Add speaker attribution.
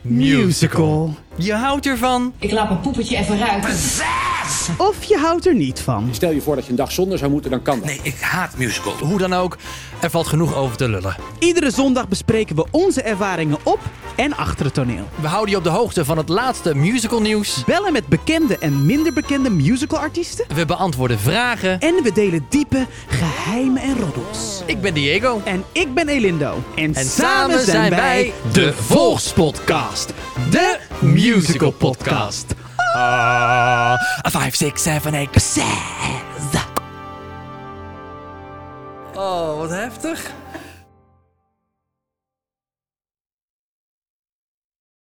Speaker 1: musical.
Speaker 2: Je houdt ervan.
Speaker 3: Ik laat mijn poepetje even ruiken.
Speaker 1: Of je houdt er niet van.
Speaker 4: Stel je voor dat je een dag zonder zou moeten, dan kan dat.
Speaker 5: Nee, ik haat musicals.
Speaker 2: Hoe dan ook, er valt genoeg over te lullen.
Speaker 1: Iedere zondag bespreken we onze ervaringen op en achter het toneel.
Speaker 2: We houden je op de hoogte van het laatste musical nieuws.
Speaker 1: Bellen met bekende en minder bekende musicalartiesten.
Speaker 2: We beantwoorden vragen.
Speaker 1: En we delen diepe geheimen en roddels.
Speaker 2: Ik ben Diego.
Speaker 1: En ik ben Elindo. En,
Speaker 2: En samen zijn wij de Volkspodcast. De musical podcast. Ah, 5, 6, 7, 8, 6. Oh, wat heftig.